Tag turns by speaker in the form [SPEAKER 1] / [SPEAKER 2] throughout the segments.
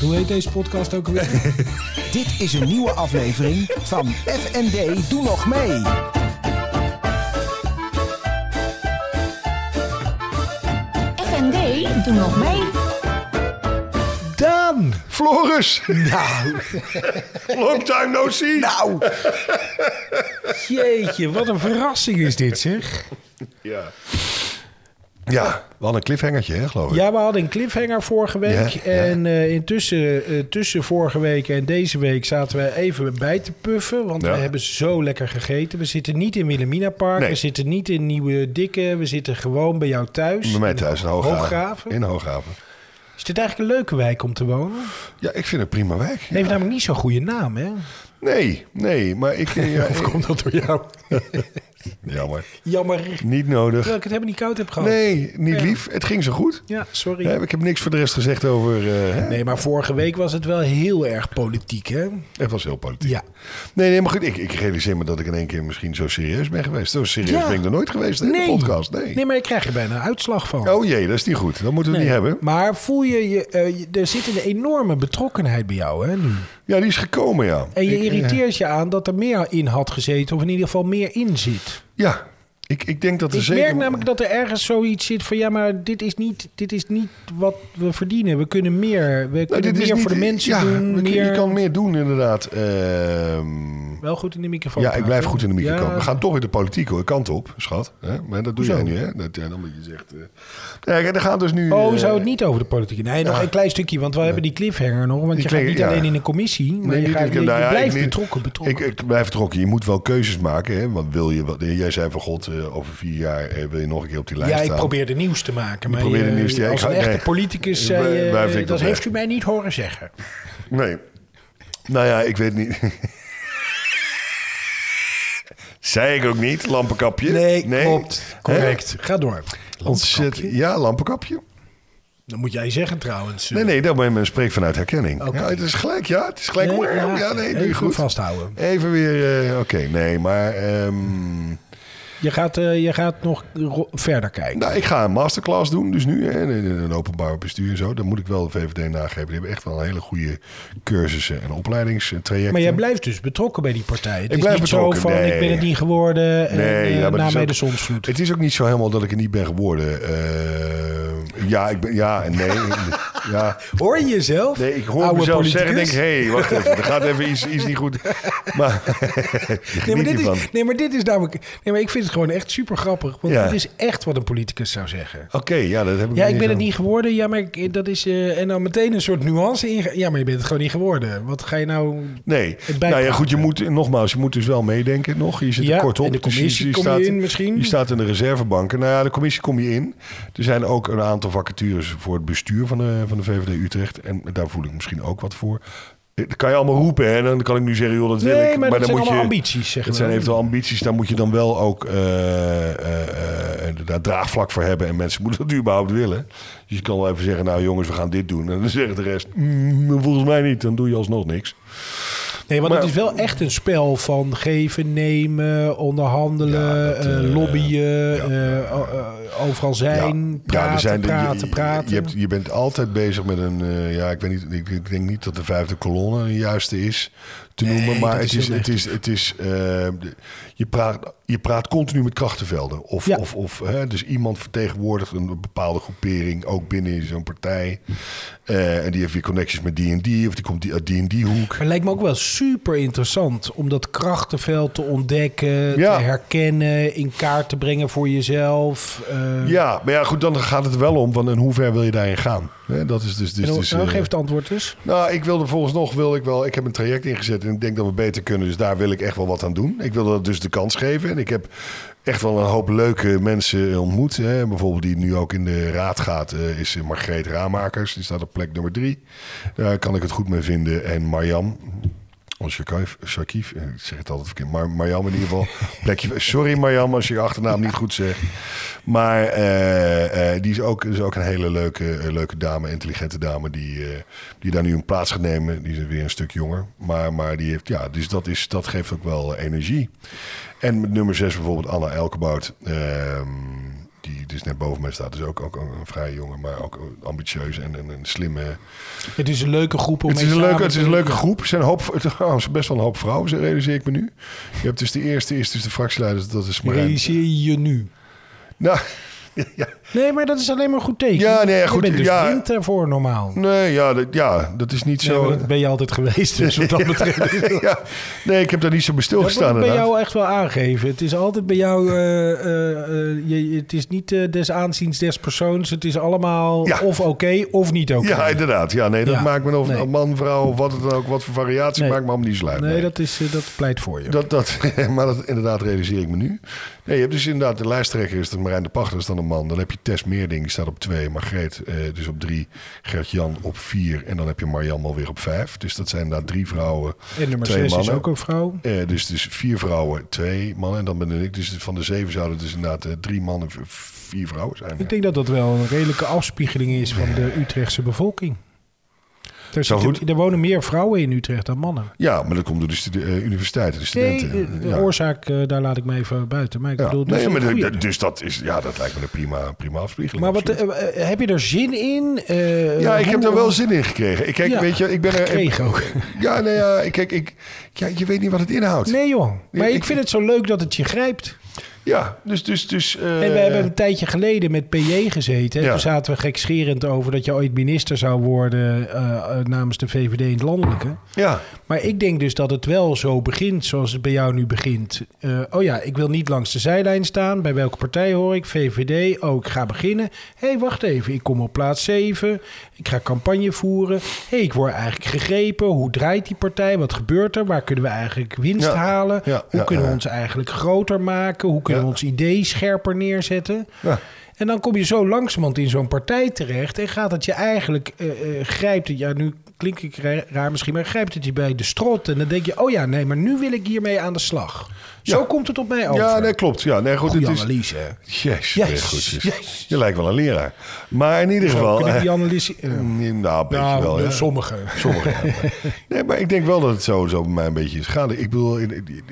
[SPEAKER 1] Hoe heet deze podcast ook alweer?
[SPEAKER 2] Dit is een nieuwe aflevering van FND Doe Nog Mee.
[SPEAKER 3] FND, doe nog mee.
[SPEAKER 4] Daan!
[SPEAKER 5] Floris,
[SPEAKER 2] Nou,
[SPEAKER 5] long time no see.
[SPEAKER 2] nou.
[SPEAKER 1] Jeetje, wat een verrassing is dit zeg.
[SPEAKER 5] Ja. ja, wel een cliffhangertje, hè, geloof ik.
[SPEAKER 1] Ja, we hadden een cliffhanger vorige week.
[SPEAKER 5] Ja, ja.
[SPEAKER 1] en eh, intussen, eh, tussen vorige week en deze week zaten we even bij te puffen. Want
[SPEAKER 5] Ja.
[SPEAKER 1] we hebben zo lekker gegeten. We zitten niet in Wilhelmina Park.
[SPEAKER 5] Nee.
[SPEAKER 1] We zitten niet in Nieuwe Dikke. We zitten gewoon bij jou thuis.
[SPEAKER 5] Bij mij thuis in Hooghaven.
[SPEAKER 1] Hooggraven.
[SPEAKER 5] In Hooghaven.
[SPEAKER 1] Is dit eigenlijk een leuke wijk om te wonen?
[SPEAKER 5] Ja, ik vind het prima wijk.
[SPEAKER 1] Het heeft namelijk niet zo'n goede naam, hè?
[SPEAKER 5] Nee, nee, maar ik... Ja,
[SPEAKER 1] Of komt dat door jou?
[SPEAKER 5] Jammer.
[SPEAKER 1] Jammer.
[SPEAKER 5] Niet nodig.
[SPEAKER 1] Terwijl ik het helemaal niet koud heb gehad.
[SPEAKER 5] Nee, niet
[SPEAKER 1] Oh. Ja.
[SPEAKER 5] lief. Het ging zo goed.
[SPEAKER 1] Ja, sorry.
[SPEAKER 5] Hè, Ik heb niks voor de rest gezegd over... eh, hè.
[SPEAKER 1] Nee, maar vorige week was het wel heel erg politiek, hè?
[SPEAKER 5] Het was heel politiek.
[SPEAKER 1] Ja.
[SPEAKER 5] Nee, nee, maar goed. Ik, ik realiseer me dat ik in één keer misschien zo serieus ben geweest. Zo serieus
[SPEAKER 1] Ja.
[SPEAKER 5] ben ik er nooit geweest hè, in de podcast. Nee.
[SPEAKER 1] Nee, maar ik krijg er bijna een uitslag van.
[SPEAKER 5] Oh jee, dat is niet goed. Dat moeten we
[SPEAKER 1] Nee.
[SPEAKER 5] niet hebben.
[SPEAKER 1] Maar voel je, je, eh, je- er zit een enorme betrokkenheid bij jou, hè, nu.
[SPEAKER 5] Ja, die is gekomen, ja.
[SPEAKER 1] En je
[SPEAKER 5] Ik, eh,
[SPEAKER 1] irriteert je aan dat er meer in had gezeten, of in ieder geval meer in zit.
[SPEAKER 5] Ja, ik, ik denk dat er
[SPEAKER 1] Ik
[SPEAKER 5] zeker...
[SPEAKER 1] merk namelijk dat er ergens zoiets zit van, ja, maar dit is niet, dit is niet wat we verdienen. We kunnen meer, we
[SPEAKER 5] Nou,
[SPEAKER 1] kunnen
[SPEAKER 5] dit is
[SPEAKER 1] meer
[SPEAKER 5] niet-
[SPEAKER 1] voor de mensen
[SPEAKER 5] ja, we
[SPEAKER 1] doen.
[SPEAKER 5] kunnen-
[SPEAKER 1] meer...
[SPEAKER 5] Je kan meer doen, inderdaad. Ehm,
[SPEAKER 1] Wel goed in de microfoon
[SPEAKER 5] ja, ik blijf
[SPEAKER 1] praten.
[SPEAKER 5] goed in de microfoon.
[SPEAKER 1] Ja,
[SPEAKER 5] We gaan toch weer de politiek hoor, kant op, schat. Hè? Maar dat doe jij nu, hè? Dat, eh, omdat je zegt... eh, Nee, kijk, er gaat dus nu...
[SPEAKER 1] Oh,
[SPEAKER 5] eh,
[SPEAKER 1] zou het niet over de politiek? Nee, nog
[SPEAKER 5] Ja.
[SPEAKER 1] een klein stukje, want we hebben die cliffhanger nog. Want
[SPEAKER 5] Die
[SPEAKER 1] je gaat
[SPEAKER 5] cliff-
[SPEAKER 1] niet
[SPEAKER 5] ja.
[SPEAKER 1] alleen in een commissie, maar
[SPEAKER 5] Nee,
[SPEAKER 1] je,
[SPEAKER 5] niet-
[SPEAKER 1] gaat,
[SPEAKER 5] ik-
[SPEAKER 1] je,
[SPEAKER 5] nou
[SPEAKER 1] je
[SPEAKER 5] ja, ik
[SPEAKER 1] blijft
[SPEAKER 5] niet-
[SPEAKER 1] betrokken, betrokken.
[SPEAKER 5] Ik, ik blijf betrokken. Je moet wel keuzes maken. Hè? Want wil je, wat- jij zei van God, eh, over vier jaar eh, wil je nog een keer op die lijst
[SPEAKER 1] ja,
[SPEAKER 5] staan.
[SPEAKER 1] ik probeer de nieuws te maken. Maar
[SPEAKER 5] probeerde
[SPEAKER 1] eh,
[SPEAKER 5] nieuws te- ja, ik
[SPEAKER 1] als een
[SPEAKER 5] ga-
[SPEAKER 1] echte
[SPEAKER 5] nee.
[SPEAKER 1] politicus zei
[SPEAKER 5] Wij-
[SPEAKER 1] je,
[SPEAKER 5] wij vind ik
[SPEAKER 1] dat
[SPEAKER 5] dat
[SPEAKER 1] heeft
[SPEAKER 5] echt.
[SPEAKER 1] u mij niet horen zeggen.
[SPEAKER 5] Nee. Nou ja, ik weet niet. Zei ik ook niet, lampenkapje. Hè?
[SPEAKER 1] Correct. Ga door.
[SPEAKER 5] Ontzettend. Ja, lampenkapje.
[SPEAKER 1] Dat moet jij zeggen trouwens. eh,
[SPEAKER 5] Nee, nee, dat ben men spreekt vanuit herkenning.
[SPEAKER 1] Oké.
[SPEAKER 5] Ja, het is gelijk, ja. Het is gelijk.
[SPEAKER 1] Nee,
[SPEAKER 5] ja,
[SPEAKER 1] ja,
[SPEAKER 5] nee, doe je
[SPEAKER 1] even
[SPEAKER 5] goed.
[SPEAKER 1] vasthouden.
[SPEAKER 5] Even weer, eh, oké, nee, maar... ehm,
[SPEAKER 1] Je gaat, eh, je gaat nog ro- verder kijken.
[SPEAKER 5] nou, ik ga een masterclass doen, dus nu, hè, in in een openbaar bestuur en zo. Dan moet ik wel de VVD nageven. Die hebben echt wel hele goede cursussen en opleidingstrajecten.
[SPEAKER 1] maar jij blijft dus betrokken bij die partij. Het
[SPEAKER 5] Ik
[SPEAKER 1] is
[SPEAKER 5] blijf
[SPEAKER 1] niet
[SPEAKER 5] betrokken,
[SPEAKER 1] zo van,
[SPEAKER 5] nee.
[SPEAKER 1] ik ben het niet geworden en
[SPEAKER 5] Nee,
[SPEAKER 1] eh,
[SPEAKER 5] ja, maar het
[SPEAKER 1] na
[SPEAKER 5] is
[SPEAKER 1] mij
[SPEAKER 5] ook-
[SPEAKER 1] de zonsvloed.
[SPEAKER 5] Het is ook niet zo helemaal dat ik er niet ben geworden. Eh, ja, ik ben, ja en nee. ja.
[SPEAKER 1] Hoor je jezelf?
[SPEAKER 5] Nee, ik hoor
[SPEAKER 1] oude
[SPEAKER 5] mezelf zeggen, denk
[SPEAKER 1] politicus?
[SPEAKER 5] ik, hé, hey, wacht even, er gaat even iets, iets niet goed. Maar,
[SPEAKER 1] Nee maar, dit
[SPEAKER 5] hiervan.
[SPEAKER 1] is, nee, maar dit is namelijk... Nee, maar ik vind het gewoon echt super grappig. Want
[SPEAKER 5] Ja.
[SPEAKER 1] dit is echt wat een politicus zou zeggen.
[SPEAKER 5] Oké, ja, dat heb ik
[SPEAKER 1] Ja,
[SPEAKER 5] nog
[SPEAKER 1] ik ben het
[SPEAKER 5] zo.
[SPEAKER 1] niet geworden. Ja, maar ik, dat is... eh, en dan meteen een soort nuance in. Ja, maar je bent het gewoon niet geworden. Wat ga je nou...
[SPEAKER 5] Nee, nou ja,
[SPEAKER 1] bijpraten.
[SPEAKER 5] goed, je moet, nogmaals, je moet dus wel meedenken nog. Je zit
[SPEAKER 1] Ja,
[SPEAKER 5] er kort op.
[SPEAKER 1] in de
[SPEAKER 5] dus je-
[SPEAKER 1] commissie
[SPEAKER 5] je
[SPEAKER 1] kom je
[SPEAKER 5] staat,
[SPEAKER 1] in misschien?
[SPEAKER 5] Je staat in de reservebanken. Nou ja, de commissie kom je in. Er zijn ook een aantal vacatures voor het bestuur van de, van de VVD Utrecht. En daar voel ik misschien ook wat voor. Eh, Dat kan je allemaal roepen, hè? Dan kan ik nu zeggen, joh, dat wil
[SPEAKER 1] Nee,
[SPEAKER 5] ik.
[SPEAKER 1] maar, dat
[SPEAKER 5] dan
[SPEAKER 1] zijn
[SPEAKER 5] moet
[SPEAKER 1] allemaal
[SPEAKER 5] je,
[SPEAKER 1] ambities, zeg
[SPEAKER 5] Het zijn eventueel ambities. Daar moet je dan wel ook eh, eh, eh, daar draagvlak voor hebben. En mensen moeten dat überhaupt willen. Dus je kan wel even zeggen, nou jongens, we gaan dit doen. En dan zegt de rest, "Mm, volgens mij niet. Dan doe je alsnog niks.
[SPEAKER 1] Nee, want het
[SPEAKER 5] maar-
[SPEAKER 1] is wel echt een spel van geven, nemen, onderhandelen,
[SPEAKER 5] Ja, dat,
[SPEAKER 1] eh,
[SPEAKER 5] eh,
[SPEAKER 1] lobbyen,
[SPEAKER 5] ja.
[SPEAKER 1] eh, o- eh, overal zijn, praten,
[SPEAKER 5] er zijn de- je-
[SPEAKER 1] praten,
[SPEAKER 5] je,
[SPEAKER 1] praten.
[SPEAKER 5] Je, hebt, je bent altijd bezig met een. eh, ja, ik, weet niet, ik, ik denk niet dat de vijfde kolonne de juiste is te
[SPEAKER 1] Nee,
[SPEAKER 5] noemen. Maar
[SPEAKER 1] dat
[SPEAKER 5] het
[SPEAKER 1] is
[SPEAKER 5] is,
[SPEAKER 1] heel
[SPEAKER 5] het is. Het is eh, de- je, praat, je praat continu met krachtenvelden. Of,
[SPEAKER 1] Ja.
[SPEAKER 5] of, of hè, dus iemand vertegenwoordigt een bepaalde groepering. Ook binnen zo'n partij. Eh, en die heeft weer connecties met die en die. Of die komt die- uit die en die hoek.
[SPEAKER 1] Maar het lijkt me ook wel super interessant om dat krachtenveld te ontdekken,
[SPEAKER 5] Ja.
[SPEAKER 1] te herkennen, in kaart te brengen voor jezelf. eh,
[SPEAKER 5] Ja, maar ja, goed, dan gaat het er wel om van in hoeverre wil je daarin gaan. Hè, dat is dus. dus,
[SPEAKER 1] en dan-
[SPEAKER 5] dus
[SPEAKER 1] nou,
[SPEAKER 5] eh,
[SPEAKER 1] geef het antwoord dus.
[SPEAKER 5] Nou, ik wilde volgens nog, wil ik wel, ik heb een traject ingezet en ik denk dat we beter kunnen. Dus daar wil ik echt wel wat aan doen. Ik wil dat dus de kans geven. En ik heb echt wel een hoop leuke mensen ontmoet. Hè. Bijvoorbeeld die nu ook in de raad gaat, eh, is Margreet Raamakers. Die staat op plek nummer drie. Daar kan ik het goed mee vinden. En Marjan. Ons Sharkief, Sharkief, eh, ik zeg het altijd verkeerd, maar Marjam in ieder geval. Plekje, sorry Marjam als je je achternaam niet goed zegt. Maar eh, eh, die is ook, is ook een hele leuke, eh, leuke dame, intelligente dame, die, eh, die daar nu een plaats gaat nemen. Die is weer een stuk jonger. Maar, maar die heeft, ja, dus dat, is, dat geeft ook wel eh, energie. En met nummer 6 bijvoorbeeld Anna Elkebout. ehm, die die dus net boven mij staat, is ook, ook, ook een vrije jongen, maar ook ambitieus en een, een slimme.
[SPEAKER 1] Het is een leuke groep om
[SPEAKER 5] Het is,
[SPEAKER 1] mee
[SPEAKER 5] een leuke,
[SPEAKER 1] samen
[SPEAKER 5] het
[SPEAKER 1] te
[SPEAKER 5] is een
[SPEAKER 1] doen.
[SPEAKER 5] leuke groep. Er zijn een hoop, trouwens best wel een hoop vrouwen, zo realiseer ik me nu. Je hebt dus de eerste, is dus de fractieleider, dat is Marijn.
[SPEAKER 1] Realiseer je nu.
[SPEAKER 5] Nou, ja,
[SPEAKER 1] Nee, maar dat is alleen maar een goed teken.
[SPEAKER 5] Ja, nee,
[SPEAKER 1] Je
[SPEAKER 5] goed,
[SPEAKER 1] bent dus
[SPEAKER 5] ja.
[SPEAKER 1] blind daarvoor normaal.
[SPEAKER 5] nee, ja, dat, ja, dat is niet
[SPEAKER 1] Nee,
[SPEAKER 5] zo. eh.
[SPEAKER 1] maar dat ben je altijd geweest, dus wat dat betreft.
[SPEAKER 5] ja, nee, ik heb daar niet zo bij
[SPEAKER 1] Dat moet
[SPEAKER 5] stilgestaan.
[SPEAKER 1] ik bij
[SPEAKER 5] inderdaad.
[SPEAKER 1] jou echt wel aangeven. Het is altijd bij jou... eh, eh, eh, je, het is niet eh, des aanziens des persoons. Het is allemaal
[SPEAKER 5] Ja.
[SPEAKER 1] of oké of niet oké.
[SPEAKER 5] Ja, inderdaad. Ja, nee, dat
[SPEAKER 1] Ja,
[SPEAKER 5] maakt me of
[SPEAKER 1] nee.
[SPEAKER 5] een man, vrouw, of wat het dan ook, wat voor variatie,
[SPEAKER 1] Nee.
[SPEAKER 5] maakt me allemaal niet zo uit.
[SPEAKER 1] nee,
[SPEAKER 5] nee.
[SPEAKER 1] dat, is, eh, dat pleit voor je.
[SPEAKER 5] Dat, dat, maar dat inderdaad realiseer ik me nu. Nee, je hebt dus inderdaad de lijsttrekker is dan Marijn de Pachter, is dan een man. Dan heb je Tess Meerding, die staat op twee. Margreet eh, dus op drie. Gert-Jan op vier. En dan heb je Marjan alweer op vijf. Dus dat zijn inderdaad drie vrouwen.
[SPEAKER 1] en nummer
[SPEAKER 5] twee
[SPEAKER 1] 6 is
[SPEAKER 5] mannen.
[SPEAKER 1] ook een vrouw.
[SPEAKER 5] Eh, dus, dus vier vrouwen, twee mannen. En dan ben ik dus van de zeven zouden het dus inderdaad eh, drie mannen, v- vier vrouwen zijn.
[SPEAKER 1] Ik denk dat dat wel een redelijke afspiegeling is van de Utrechtse bevolking. Er,
[SPEAKER 5] Zo
[SPEAKER 1] zitten-
[SPEAKER 5] goed.
[SPEAKER 1] er wonen meer vrouwen in Utrecht dan mannen.
[SPEAKER 5] Ja, maar dat komt door de stu- eh, universiteiten, de
[SPEAKER 1] Nee,
[SPEAKER 5] studenten.
[SPEAKER 1] de, de
[SPEAKER 5] Ja.
[SPEAKER 1] oorzaak, eh, daar laat ik me even buiten. Maar ik
[SPEAKER 5] Ja.
[SPEAKER 1] bedoel, dat is
[SPEAKER 5] nee,
[SPEAKER 1] een
[SPEAKER 5] maar de-
[SPEAKER 1] goeie.
[SPEAKER 5] de- dus dat is, ja, dat lijkt me een prima, prima afspiegeling.
[SPEAKER 1] Maar wat,
[SPEAKER 5] absoluut.
[SPEAKER 1] eh, eh, heb je er zin in? Eh,
[SPEAKER 5] ja, ik heb
[SPEAKER 1] hoe-
[SPEAKER 5] daar wel zin in gekregen. Ik kijk,
[SPEAKER 1] Ja,
[SPEAKER 5] weet je, ik ben er.
[SPEAKER 1] gekregen ook.
[SPEAKER 5] Ja, nee, ja, ik kijk, ik, ja, je weet niet wat het inhoudt.
[SPEAKER 1] Nee joh, maar
[SPEAKER 5] ik-
[SPEAKER 1] ik vind het zo leuk dat het je grijpt.
[SPEAKER 5] Ja, dus, dus, dus. eh,
[SPEAKER 1] En we hebben een tijdje geleden met PJ gezeten. en
[SPEAKER 5] Ja.
[SPEAKER 1] Toen zaten we gekscherend over dat je ooit minister zou worden eh, eh, namens de VVD in het landelijke.
[SPEAKER 5] Ja,
[SPEAKER 1] Maar ik denk dus dat het wel zo begint zoals het bij jou nu begint. Eh, oh ja, ik wil niet langs de zijlijn staan. Bij welke partij hoor ik? VVD. Oh, ik ga beginnen. Hé, hey, wacht even. Ik kom op plaats 7. Ik ga campagne voeren. Hé, hey, ik word eigenlijk gegrepen. Hoe draait die partij? Wat gebeurt er? Waar kunnen we eigenlijk winst
[SPEAKER 5] Ja,
[SPEAKER 1] halen?
[SPEAKER 5] ja,
[SPEAKER 1] Hoe
[SPEAKER 5] ja,
[SPEAKER 1] kunnen we
[SPEAKER 5] ja.
[SPEAKER 1] ons eigenlijk groter maken? Hoe kunnen
[SPEAKER 5] Ja.
[SPEAKER 1] we ons idee scherper neerzetten?
[SPEAKER 5] ja.
[SPEAKER 1] En dan kom je zo langzamerhand in zo'n partij terecht. En gaat het je eigenlijk, eh eh, grijpt het, ja nu klink ik ra- raar misschien, maar grijpt het je bij de strot. En dan denk je, oh ja, nee, maar nu wil ik hiermee aan de slag. Zo
[SPEAKER 5] Ja.
[SPEAKER 1] komt het op mij over.
[SPEAKER 5] ja nee, klopt. Ja, nee, goed.
[SPEAKER 1] Goeie
[SPEAKER 5] het is,
[SPEAKER 1] analyse. hè.
[SPEAKER 5] Jezus,
[SPEAKER 1] Oh, Jezus,
[SPEAKER 5] goed. dus.
[SPEAKER 1] jezus.
[SPEAKER 5] Je lijkt wel een leraar. Maar in ieder
[SPEAKER 1] Zo
[SPEAKER 5] geval.
[SPEAKER 1] kunnen
[SPEAKER 5] eh,
[SPEAKER 1] die analyse... eh,
[SPEAKER 5] nou, een beetje
[SPEAKER 1] nou,
[SPEAKER 5] wel. ja.
[SPEAKER 1] sommige.
[SPEAKER 5] Sommige. ja, maar- nee, maar ik denk wel dat het zo, zo bij mij een beetje is gaan. Ik bedoel, in- in- in-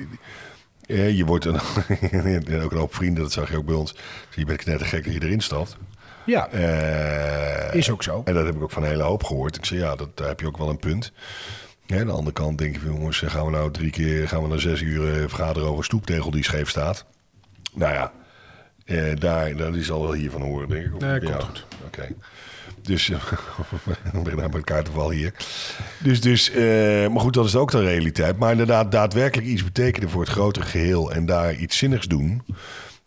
[SPEAKER 5] eh, je wordt een, en ook een hoop vrienden, dat zag je ook bij ons. Dus je bent knettergek dat je erin stapt.
[SPEAKER 1] Ja,
[SPEAKER 5] Eh,
[SPEAKER 1] is ook zo.
[SPEAKER 5] En dat heb ik ook van een hele hoop gehoord. Ik zei, ja, dat, daar heb je ook wel een punt. Ja, aan de andere kant denk je, van, jongens, gaan we nou drie keer, gaan we nou zes uur eh, vergaderen over een stoeptegel die scheef staat? Nou ja, eh, daar, dat is al wel hier van horen, denk ik. Of-
[SPEAKER 1] Nee,
[SPEAKER 5] ja,
[SPEAKER 1] komt goed.
[SPEAKER 5] Oké. Dus, eh, we beginnen met elkaar te vallen hier. Dus, dus eh, maar goed, dat is ook de realiteit. Maar inderdaad, daadwerkelijk iets betekenen voor het grotere geheel en daar iets zinnigs doen.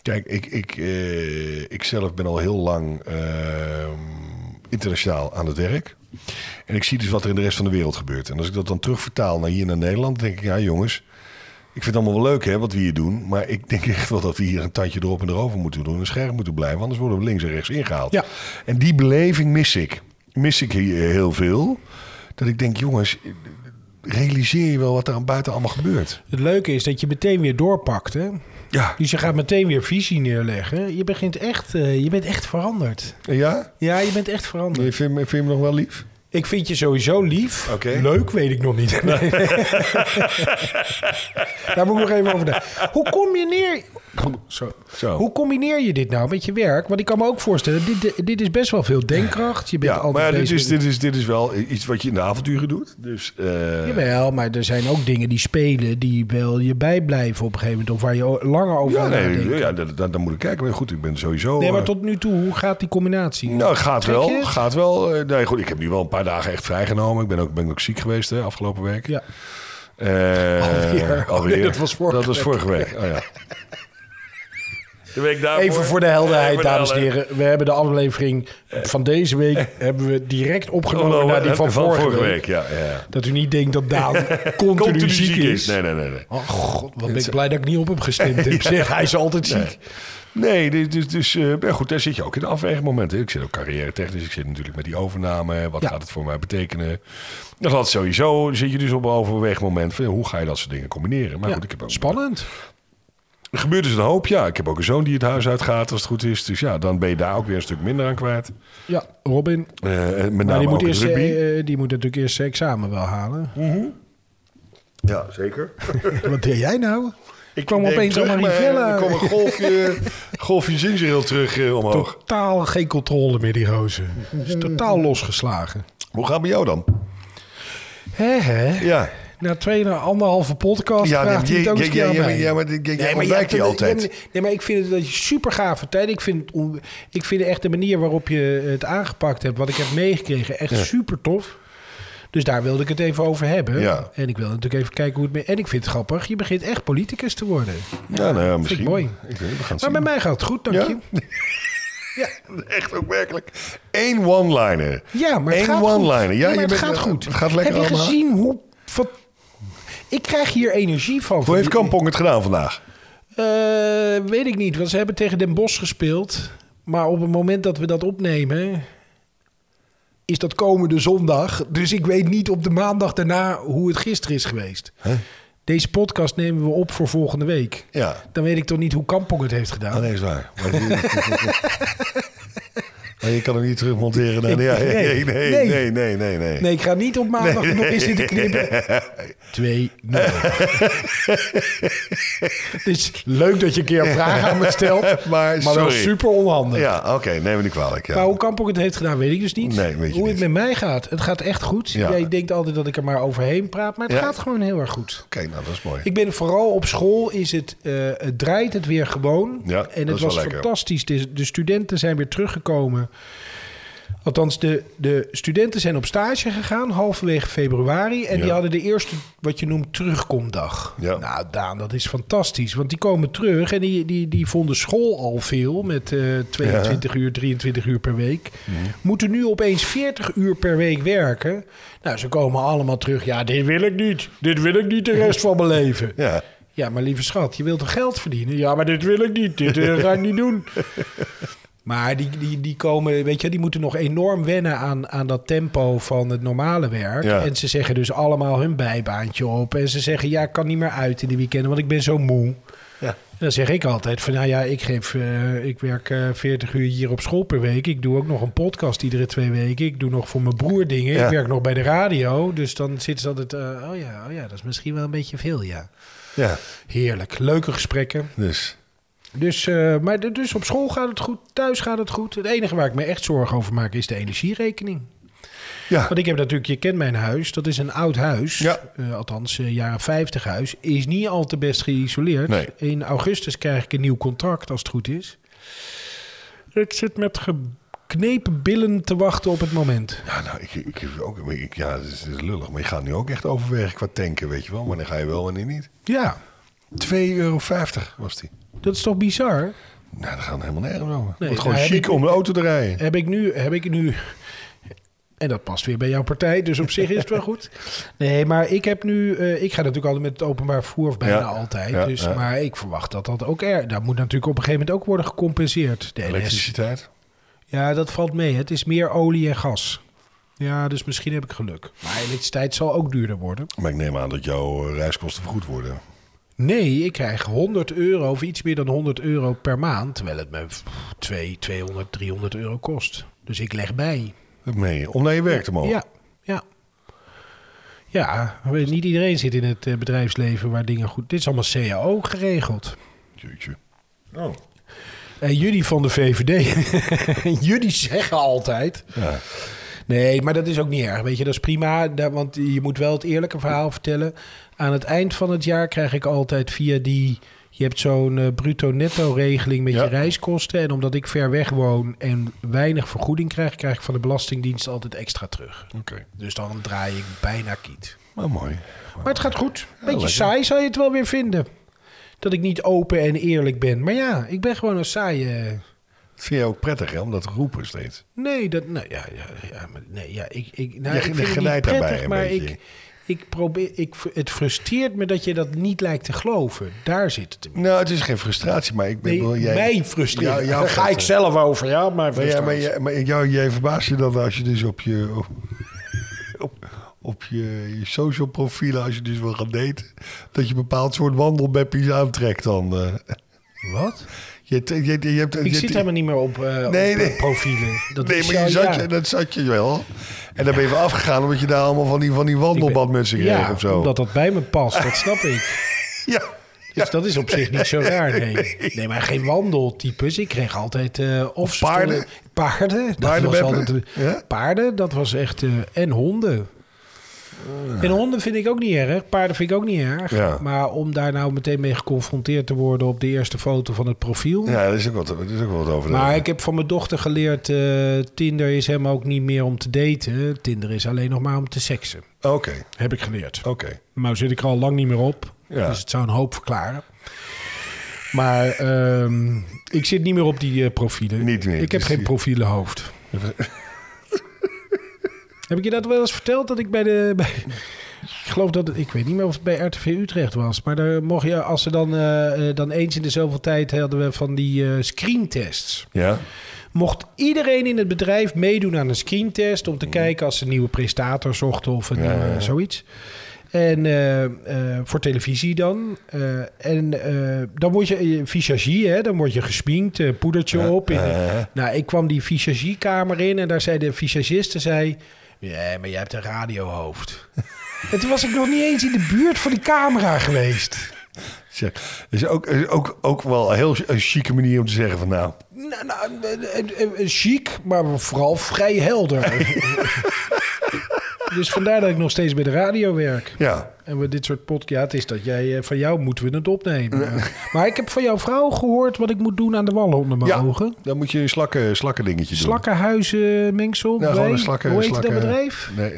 [SPEAKER 5] Kijk, ik, ik, eh, ik zelf ben al heel lang eh, internationaal aan het werk. En ik zie dus wat er in de rest van de wereld gebeurt. En als ik dat dan terugvertaal naar hier naar Nederland, dan denk ik, ja jongens, ik vind het allemaal wel leuk hè, wat we hier doen. Maar ik denk echt wel dat we hier een tandje erop en erover moeten doen. En scherp moeten blijven, anders worden we links en rechts ingehaald.
[SPEAKER 1] Ja.
[SPEAKER 5] En die beleving mis ik. Mis ik hier eh, heel veel. Dat ik denk, jongens, realiseer je wel wat er buiten allemaal gebeurt.
[SPEAKER 1] Het leuke is dat je meteen weer doorpakt. Hè?
[SPEAKER 5] Ja.
[SPEAKER 1] Dus je gaat meteen weer visie neerleggen. Je, begint echt, eh, je bent echt veranderd.
[SPEAKER 5] Ja?
[SPEAKER 1] Ja, je bent echt veranderd.
[SPEAKER 5] Vind je, me- vind je me nog wel lief?
[SPEAKER 1] Ik vind je sowieso lief.
[SPEAKER 5] Oké.
[SPEAKER 1] Leuk weet ik nog niet. Nee. Daar moet ik nog even over nadenken. Hoe combineer, Zo.
[SPEAKER 5] Zo.
[SPEAKER 1] hoe combineer je dit nou met je werk? Want ik kan me ook voorstellen, dit, dit is best wel veel denkkracht. Je bent
[SPEAKER 5] Ja,
[SPEAKER 1] altijd
[SPEAKER 5] maar dit
[SPEAKER 1] bezig
[SPEAKER 5] is,
[SPEAKER 1] met-
[SPEAKER 5] dit, is, dit is wel iets wat je in de avonturen doet. Dus, eh,
[SPEAKER 1] Jawel, maar er zijn ook dingen die spelen die wel je bijblijven op een gegeven moment. Of waar je o- langer over
[SPEAKER 5] ja,
[SPEAKER 1] aan
[SPEAKER 5] nee,
[SPEAKER 1] nadenkt.
[SPEAKER 5] ja, dan, dan- dan moet ik kijken. Maar goed, ik ben sowieso...
[SPEAKER 1] Nee, maar
[SPEAKER 5] eh,
[SPEAKER 1] tot nu toe, hoe gaat die combinatie?
[SPEAKER 5] Nou, gaat
[SPEAKER 1] Trek je
[SPEAKER 5] wel.
[SPEAKER 1] het?
[SPEAKER 5] Gaat wel. Eh, Nee, goed, ik heb nu wel een paar dagen echt vrijgenomen. Ik ben ook, ben ook ziek geweest hè, afgelopen week.
[SPEAKER 1] Ja.
[SPEAKER 5] Eh,
[SPEAKER 1] Alweer. Nee, dat was vorige
[SPEAKER 5] dat was vorige week. Oh, ja. De week daarvoor.
[SPEAKER 1] Even voor de helderheid,
[SPEAKER 5] Even de
[SPEAKER 1] dames en
[SPEAKER 5] helderheid. Eh.
[SPEAKER 1] heren. We hebben de aflevering van deze week hebben we direct opgenomen
[SPEAKER 5] Oh,
[SPEAKER 1] naar nou, die
[SPEAKER 5] eh,
[SPEAKER 1] van, vorige, week.
[SPEAKER 5] Ja, ja.
[SPEAKER 1] Dat u niet denkt dat Daan continu,
[SPEAKER 5] Continu
[SPEAKER 1] ziek is.
[SPEAKER 5] Nee, nee, nee. nee.
[SPEAKER 1] Oh god, wat ben ik blij dat ik niet op hem gestemd heb. Zeg, hij is altijd ziek.
[SPEAKER 5] Nee, dus, dus, dus eh, ja, goed, daar zit je ook in de afwegmomenten. Ik zit ook carrière technisch. Ik zit natuurlijk met die overname. Wat
[SPEAKER 1] Ja.
[SPEAKER 5] gaat het voor mij betekenen? Dat had sowieso. Zit je dus op een overwegmoment. van, Hoe ga je dat soort dingen combineren? Maar
[SPEAKER 1] Ja,
[SPEAKER 5] goed, ik heb ook
[SPEAKER 1] Spannend.
[SPEAKER 5] Er gebeurt dus een hoop, ja. Ik heb ook een zoon die het huis uitgaat als het goed is. Dus ja, dan ben je daar ook weer een stuk minder aan kwijt.
[SPEAKER 1] Ja, Robin.
[SPEAKER 5] Eh, met name
[SPEAKER 1] Maar die moet,
[SPEAKER 5] ook in
[SPEAKER 1] eerst,
[SPEAKER 5] rugby.
[SPEAKER 1] eh, eh, die moet natuurlijk eerst zijn examen wel halen.
[SPEAKER 5] ja, zeker.
[SPEAKER 1] Wat deed jij nou? Ik kwam
[SPEAKER 5] Denk
[SPEAKER 1] opeens
[SPEAKER 5] terug,
[SPEAKER 1] aan
[SPEAKER 5] maar eh,
[SPEAKER 1] Marivella.
[SPEAKER 5] Er kwam een golfje, golfje ginger heel terug eh, omhoog.
[SPEAKER 1] Totaal geen controle meer, die rozen. Is totaal losgeslagen.
[SPEAKER 5] Hoe gaat het met jou dan?
[SPEAKER 1] Hè, hè?
[SPEAKER 5] Ja,
[SPEAKER 1] Na twee, na anderhalve podcast
[SPEAKER 5] Ja,
[SPEAKER 1] ja,
[SPEAKER 5] nee,
[SPEAKER 1] vraagt hij
[SPEAKER 5] je-
[SPEAKER 1] het ook
[SPEAKER 5] je-
[SPEAKER 1] eens
[SPEAKER 5] je-
[SPEAKER 1] aan
[SPEAKER 5] je-
[SPEAKER 1] mij.
[SPEAKER 5] ja, maar dit- je- jij
[SPEAKER 1] maar
[SPEAKER 5] ontwijkt die
[SPEAKER 1] hebt het-
[SPEAKER 5] altijd.
[SPEAKER 1] je hebt- nee, maar ik vind het dat je super gave tijd. Ik vind, het on- ik vind echt de manier waarop je het aangepakt hebt, wat ik heb meegekregen, echt super tof. Dus daar wilde ik het even over hebben.
[SPEAKER 5] Ja.
[SPEAKER 1] En ik wil natuurlijk even kijken hoe het mee. En ik vind het grappig. Je begint echt politicus te worden.
[SPEAKER 5] ja, nou ja, misschien.
[SPEAKER 1] mooi.
[SPEAKER 5] Ik weet, het, we gaan
[SPEAKER 1] Maar
[SPEAKER 5] het
[SPEAKER 1] bij
[SPEAKER 5] zien.
[SPEAKER 1] mij gaat het goed, dank je.
[SPEAKER 5] ja? Echt ook werkelijk. Eén one-liner.
[SPEAKER 1] Ja, maar het
[SPEAKER 5] Eén
[SPEAKER 1] gaat
[SPEAKER 5] one-liner.
[SPEAKER 1] goed.
[SPEAKER 5] Ja,
[SPEAKER 1] maar
[SPEAKER 5] je
[SPEAKER 1] het
[SPEAKER 5] bent-
[SPEAKER 1] gaat goed.
[SPEAKER 5] het gaat lekker
[SPEAKER 1] Heb je
[SPEAKER 5] allemaal.
[SPEAKER 1] gezien hoe... Wat, ik krijg hier energie van.
[SPEAKER 5] Hoe heeft
[SPEAKER 1] Van die-
[SPEAKER 5] Kampong het gedaan vandaag?
[SPEAKER 1] Eh, weet ik niet, want ze hebben tegen Den Bosch gespeeld. Maar op het moment dat we dat opnemen, is dat komende zondag. Dus ik weet niet op de maandag daarna hoe het gisteren is geweest. Deze podcast nemen we op voor volgende week.
[SPEAKER 5] Ja.
[SPEAKER 1] Dan weet ik toch niet hoe Kampong het heeft gedaan.
[SPEAKER 5] Ah, nee, is waar. Maar, Maar je kan hem niet terugmonteren. naar- ja,
[SPEAKER 1] Nee.
[SPEAKER 5] nee, nee, nee,
[SPEAKER 1] Nee.
[SPEAKER 5] nee, nee, nee,
[SPEAKER 1] Nee, ik ga niet op maandag nog eens zitten knippen. 2-0. dus leuk dat je een keer een vraag aan me stelt. maar
[SPEAKER 5] Maar
[SPEAKER 1] wel
[SPEAKER 5] sorry.
[SPEAKER 1] super onhandig.
[SPEAKER 5] Ja, oké, neem me niet kwalijk. Ja.
[SPEAKER 1] Maar hoe Kampong het heeft gedaan, weet ik dus niet.
[SPEAKER 5] Nee, weet je
[SPEAKER 1] hoe
[SPEAKER 5] niet.
[SPEAKER 1] het met mij gaat. Het gaat echt goed.
[SPEAKER 5] Ja.
[SPEAKER 1] Jij denkt altijd dat ik er maar overheen praat, maar het
[SPEAKER 5] Ja.
[SPEAKER 1] gaat gewoon heel erg goed.
[SPEAKER 5] Kijk, nou, dat is mooi.
[SPEAKER 1] Ik ben vooral op school, is het, eh, het draait het weer gewoon.
[SPEAKER 5] Ja, dat
[SPEAKER 1] en
[SPEAKER 5] is
[SPEAKER 1] het
[SPEAKER 5] wel
[SPEAKER 1] was
[SPEAKER 5] lekker.
[SPEAKER 1] fantastisch. De, de studenten zijn weer teruggekomen. Althans, de, de studenten zijn op stage gegaan halverwege februari. En
[SPEAKER 5] Ja.
[SPEAKER 1] die hadden de eerste, wat je noemt, terugkomdag.
[SPEAKER 5] Ja.
[SPEAKER 1] Nou, Daan, dat is fantastisch. Want die komen terug en die, die, die vonden school al veel met eh, 22 uur, 23 uur per week. Moeten nu opeens 40 uur per week werken. Nou, ze komen allemaal terug. Ja, dit wil ik niet. Dit wil ik niet de rest van mijn leven.
[SPEAKER 5] Ja,
[SPEAKER 1] Ja, maar lieve schat, je wilt toch geld verdienen? Ja, maar dit wil ik niet. Dit eh, ga ik niet doen. Maar die, die, die komen, weet je, die moeten nog enorm wennen aan, aan dat tempo van het normale werk.
[SPEAKER 5] Ja.
[SPEAKER 1] En ze zeggen dus allemaal hun bijbaantje op. En ze zeggen, ja, ik kan niet meer uit in de weekenden, want ik ben zo moe.
[SPEAKER 5] ja.
[SPEAKER 1] En dan zeg ik altijd van, nou ja, ik, geef, eh, ik werk eh 40 uur hier op school per week. Ik doe ook nog een podcast iedere twee weken. Ik doe nog voor mijn broer dingen.
[SPEAKER 5] Ja.
[SPEAKER 1] Ik werk nog bij de radio. Dus dan zitten ze altijd, eh, oh, ja, oh ja, dat is misschien wel een beetje veel, ja.
[SPEAKER 5] ja.
[SPEAKER 1] Heerlijk, leuke gesprekken.
[SPEAKER 5] dus.
[SPEAKER 1] Dus, eh, maar d- dus op school gaat het goed, thuis gaat het goed. Het enige waar ik me echt zorgen over maak is de energierekening.
[SPEAKER 5] Ja,
[SPEAKER 1] Want ik heb natuurlijk, je kent mijn huis, dat is een oud huis.
[SPEAKER 5] Ja.
[SPEAKER 1] Eh, althans, eh, jaren 50 huis. Is niet al te best geïsoleerd.
[SPEAKER 5] Nee.
[SPEAKER 1] In augustus krijg ik een nieuw contract, als het goed is. Ik zit met geknepen billen te wachten op het moment.
[SPEAKER 5] ja nou, ik, ik, heb ook, maar ik- ja, het is, het is lullig. Maar je gaat nu ook echt overwegen qua tanken, weet je wel. Wanneer ga je wel, wanneer niet.
[SPEAKER 1] Ja,
[SPEAKER 5] 2,50 euro was die.
[SPEAKER 1] dat is toch bizar?
[SPEAKER 5] Nou, dat gaat helemaal nergens over. Het wordt
[SPEAKER 1] nou,
[SPEAKER 5] gewoon
[SPEAKER 1] heb
[SPEAKER 5] chic
[SPEAKER 1] ik-
[SPEAKER 5] om de auto te rijden.
[SPEAKER 1] heb ik nu, heb ik nu. En dat past weer bij jouw partij, dus op zich is het wel goed. Nee, maar ik heb nu. eh, ik ga natuurlijk altijd met het openbaar vervoer, of bijna
[SPEAKER 5] Ja,
[SPEAKER 1] altijd.
[SPEAKER 5] ja,
[SPEAKER 1] dus,
[SPEAKER 5] ja.
[SPEAKER 1] Maar ik verwacht dat dat ook er. Dat moet natuurlijk op een gegeven moment ook worden gecompenseerd. De NS.
[SPEAKER 5] Elektriciteit.
[SPEAKER 1] Ja, dat valt mee. Het is meer olie en gas. Ja, dus misschien heb ik geluk. Maar elektriciteit zal ook duurder worden.
[SPEAKER 5] Maar ik neem aan dat jouw eh, reiskosten vergoed worden.
[SPEAKER 1] Nee, ik krijg 100 euro of iets meer dan 100 euro per maand. Terwijl het me pff, 2, 200, 300 euro kost. Dus ik leg bij.
[SPEAKER 5] Dat meen je. Om naar je werk te mogen.
[SPEAKER 1] Ja, ja. Ja, weet je, niet iedereen zit in het eh, bedrijfsleven waar dingen goed... Dit is allemaal cao geregeld.
[SPEAKER 5] Jeetje. Oh.
[SPEAKER 1] En jullie van de VVD, jullie zeggen altijd...
[SPEAKER 5] Ja.
[SPEAKER 1] Nee, maar dat is ook niet erg, weet je, dat is prima. Daar- want je moet wel het eerlijke verhaal vertellen. Aan het eind van het jaar krijg ik altijd via die... Je hebt zo'n eh, bruto-netto-regeling met
[SPEAKER 5] Ja.
[SPEAKER 1] je reiskosten. En omdat ik ver weg woon en weinig vergoeding krijg... krijg ik van de Belastingdienst altijd extra terug.
[SPEAKER 5] Oké.
[SPEAKER 1] Dus dan draai ik bijna kiet.
[SPEAKER 5] Maar mooi.
[SPEAKER 1] Maar het gaat goed. Beetje
[SPEAKER 5] lekker.
[SPEAKER 1] saai zou je het wel weer vinden. Dat ik niet open en eerlijk ben. Maar ja, ik ben gewoon een saaie...
[SPEAKER 5] Dat vind jij ook prettig, hè? Om dat te roepen steeds.
[SPEAKER 1] Nee, dat... Nou ja, ja, ja maar nee, ja, ik... ik nou,
[SPEAKER 5] Je
[SPEAKER 1] ik vind het niet
[SPEAKER 5] geleidt daarbij
[SPEAKER 1] prettig,
[SPEAKER 5] een
[SPEAKER 1] maar
[SPEAKER 5] beetje.
[SPEAKER 1] ik... Ik probeer, ik, het frustreert me dat je dat niet lijkt te geloven. Daar zit het in.
[SPEAKER 5] Nou, het is geen frustratie, maar ik ben...
[SPEAKER 1] Nee,
[SPEAKER 5] wel- jij,
[SPEAKER 1] mij frustreert
[SPEAKER 5] Jou-
[SPEAKER 1] het.
[SPEAKER 5] jouw
[SPEAKER 1] Daar ga ik
[SPEAKER 5] frustratie.
[SPEAKER 1] zelf over, ja, maar
[SPEAKER 5] Maar, ja,
[SPEAKER 1] frustratie.
[SPEAKER 5] maar, jij- maar jou, jij verbaast je dat als je dus op je... Op, op, op je, je social profielen, als je dus wil gaan daten... dat je een bepaald soort wandelbeppies aantrekt dan. eh.
[SPEAKER 1] Wat?
[SPEAKER 5] Je, je, je, je hebt,
[SPEAKER 1] Ik
[SPEAKER 5] je-
[SPEAKER 1] zit helemaal niet meer op, eh,
[SPEAKER 5] Nee,
[SPEAKER 1] op,
[SPEAKER 5] nee.
[SPEAKER 1] eh, profielen. Dat
[SPEAKER 5] nee,
[SPEAKER 1] is
[SPEAKER 5] maar
[SPEAKER 1] jou-
[SPEAKER 5] je zat,
[SPEAKER 1] ja.
[SPEAKER 5] je, dat zat je wel. En dan ben je weer afgegaan omdat je daar allemaal van die, van die wandelbadmutsen kreeg
[SPEAKER 1] ja,
[SPEAKER 5] of zo.
[SPEAKER 1] omdat dat bij me past, dat snap ik.
[SPEAKER 5] Ja.
[SPEAKER 1] Dus dat is op zich niet zo raar. Nee, nee maar geen wandeltypes. Ik kreeg altijd... eh, of ze
[SPEAKER 5] Paarden?
[SPEAKER 1] stonden- Paarden. Dat was
[SPEAKER 5] Paardenbeppen?
[SPEAKER 1] altijd,
[SPEAKER 5] Ja?
[SPEAKER 1] Paarden, dat was echt... eh, en honden. En honden vind ik ook niet erg. Paarden vind ik ook niet erg.
[SPEAKER 5] Ja.
[SPEAKER 1] Maar om daar nou meteen mee geconfronteerd te worden... op de eerste foto van het profiel...
[SPEAKER 5] Ja, dat is ook wat, dat is ook wat over.
[SPEAKER 1] Maar ik heb van mijn dochter geleerd, eh, Tinder is helemaal ook niet meer om te daten. Tinder is alleen nog maar om te seksen.
[SPEAKER 5] Oké,
[SPEAKER 1] Heb ik geleerd.
[SPEAKER 5] oké.
[SPEAKER 1] Nou zit ik er al lang niet meer op.
[SPEAKER 5] Ja.
[SPEAKER 1] Dus het zou een hoop verklaren. Maar ehm, ik zit niet meer op die eh, profielen.
[SPEAKER 5] Niet meer,
[SPEAKER 1] Ik heb
[SPEAKER 5] dus
[SPEAKER 1] geen
[SPEAKER 5] die-
[SPEAKER 1] profielenhoofd. heb ik je dat wel eens verteld? Dat ik bij de... Bij, ik geloof dat... het- Ik weet niet meer of het bij RTV Utrecht was. Maar daar mocht je... Als ze dan, eh, eh, dan eens in de zoveel tijd hadden we van die eh, screentests.
[SPEAKER 5] Ja,
[SPEAKER 1] Mocht iedereen in het bedrijf meedoen aan een screentest om te kijken als ze een nieuwe prestator zochten of een,
[SPEAKER 5] Mhm. Ja, ja, ja.
[SPEAKER 1] eh, zoiets. En eh, eh, voor televisie dan. Eh, en eh, dan word je eh, visagie, hè, dan word je gesminkt, eh, poedertje op. In, Nou, ik kwam die visagiekamer in en daar zei de visagiste, zei, ja, maar jij hebt een radiohoofd. en toen was ik nog niet eens in de buurt van die camera geweest.
[SPEAKER 5] zeg. Is ook, is ook, ook wel een heel ch- een chique manier om te zeggen van nou.
[SPEAKER 1] Nou, nou, eh, eh, eh, eh, chic, maar vooral vrij helder. dus vandaar dat ik nog steeds bij de radio werk.
[SPEAKER 5] Ja,
[SPEAKER 1] En we dit soort podcast... Ja, het is dat jij... eh, Van jou moeten we het opnemen. Maar ik heb van jouw vrouw gehoord wat ik moet doen aan de wallen onder mijn
[SPEAKER 5] ja
[SPEAKER 1] ogen.
[SPEAKER 5] dan moet je een slakken, slakken dingetje doen.
[SPEAKER 1] Slakkenhuizen mengsel.
[SPEAKER 5] Nou, gewoon
[SPEAKER 1] bij-
[SPEAKER 5] een slakken.
[SPEAKER 1] Hoe heet
[SPEAKER 5] slakken,
[SPEAKER 1] dat bedrijf?
[SPEAKER 5] Nee.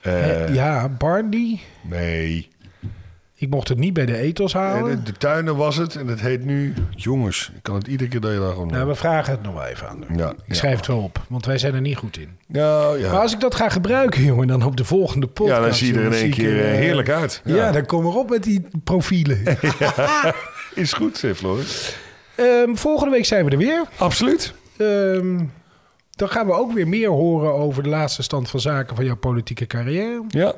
[SPEAKER 1] Eh,
[SPEAKER 5] Eh,
[SPEAKER 1] ja, Barney.
[SPEAKER 5] Nee.
[SPEAKER 1] Ik mocht het niet bij de ethos
[SPEAKER 5] En
[SPEAKER 1] halen.
[SPEAKER 5] de, de tuinen was het en het heet nu... Jongens, ik kan het iedere keer dat je daar gewoon...
[SPEAKER 1] nou, we vragen het nog wel even aan. haar.
[SPEAKER 5] Ja,
[SPEAKER 1] ik schrijf het wel op, want wij zijn er niet goed in.
[SPEAKER 5] Nou, ja.
[SPEAKER 1] Maar als ik dat ga gebruiken, jongen, dan op de volgende podcast.
[SPEAKER 5] ja, dan zie je er in
[SPEAKER 1] jongen,
[SPEAKER 5] één
[SPEAKER 1] zie ik
[SPEAKER 5] keer eh,
[SPEAKER 1] eh,
[SPEAKER 5] heerlijk uit.
[SPEAKER 1] Ja, dan kom erop met die profielen.
[SPEAKER 5] Is goed, eh, Floris.
[SPEAKER 1] Ehm, volgende week zijn we er weer.
[SPEAKER 5] Absoluut.
[SPEAKER 1] Ehm, dan gaan we ook weer meer horen over de laatste stand van zaken van jouw politieke carrière.
[SPEAKER 5] Ja.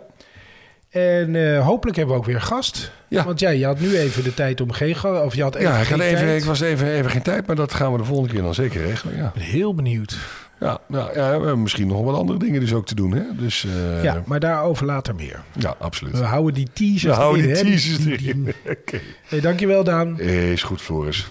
[SPEAKER 1] En eh, hopelijk hebben we ook weer een gast.
[SPEAKER 5] Ja.
[SPEAKER 1] Want ja, je had nu even de tijd om geen gast. Of je had even
[SPEAKER 5] Ja, ik,
[SPEAKER 1] geen
[SPEAKER 5] had even,
[SPEAKER 1] tijd.
[SPEAKER 5] ik was even, even geen tijd, maar dat gaan we de volgende keer dan zeker regelen. Ja,
[SPEAKER 1] Ik ben heel benieuwd.
[SPEAKER 5] ja, nou, ja we hebben misschien nog wat andere dingen dus ook te doen. Hè? Dus eh,
[SPEAKER 1] ja,
[SPEAKER 5] ja.
[SPEAKER 1] maar daarover later meer.
[SPEAKER 5] absoluut.
[SPEAKER 1] We houden die teasers
[SPEAKER 5] We houden
[SPEAKER 1] erin,
[SPEAKER 5] die
[SPEAKER 1] hè.
[SPEAKER 5] teasers
[SPEAKER 1] Die- die-
[SPEAKER 5] erin. Oké.
[SPEAKER 1] Hey, dankjewel, Daan.
[SPEAKER 5] Eh, Is goed, Floris.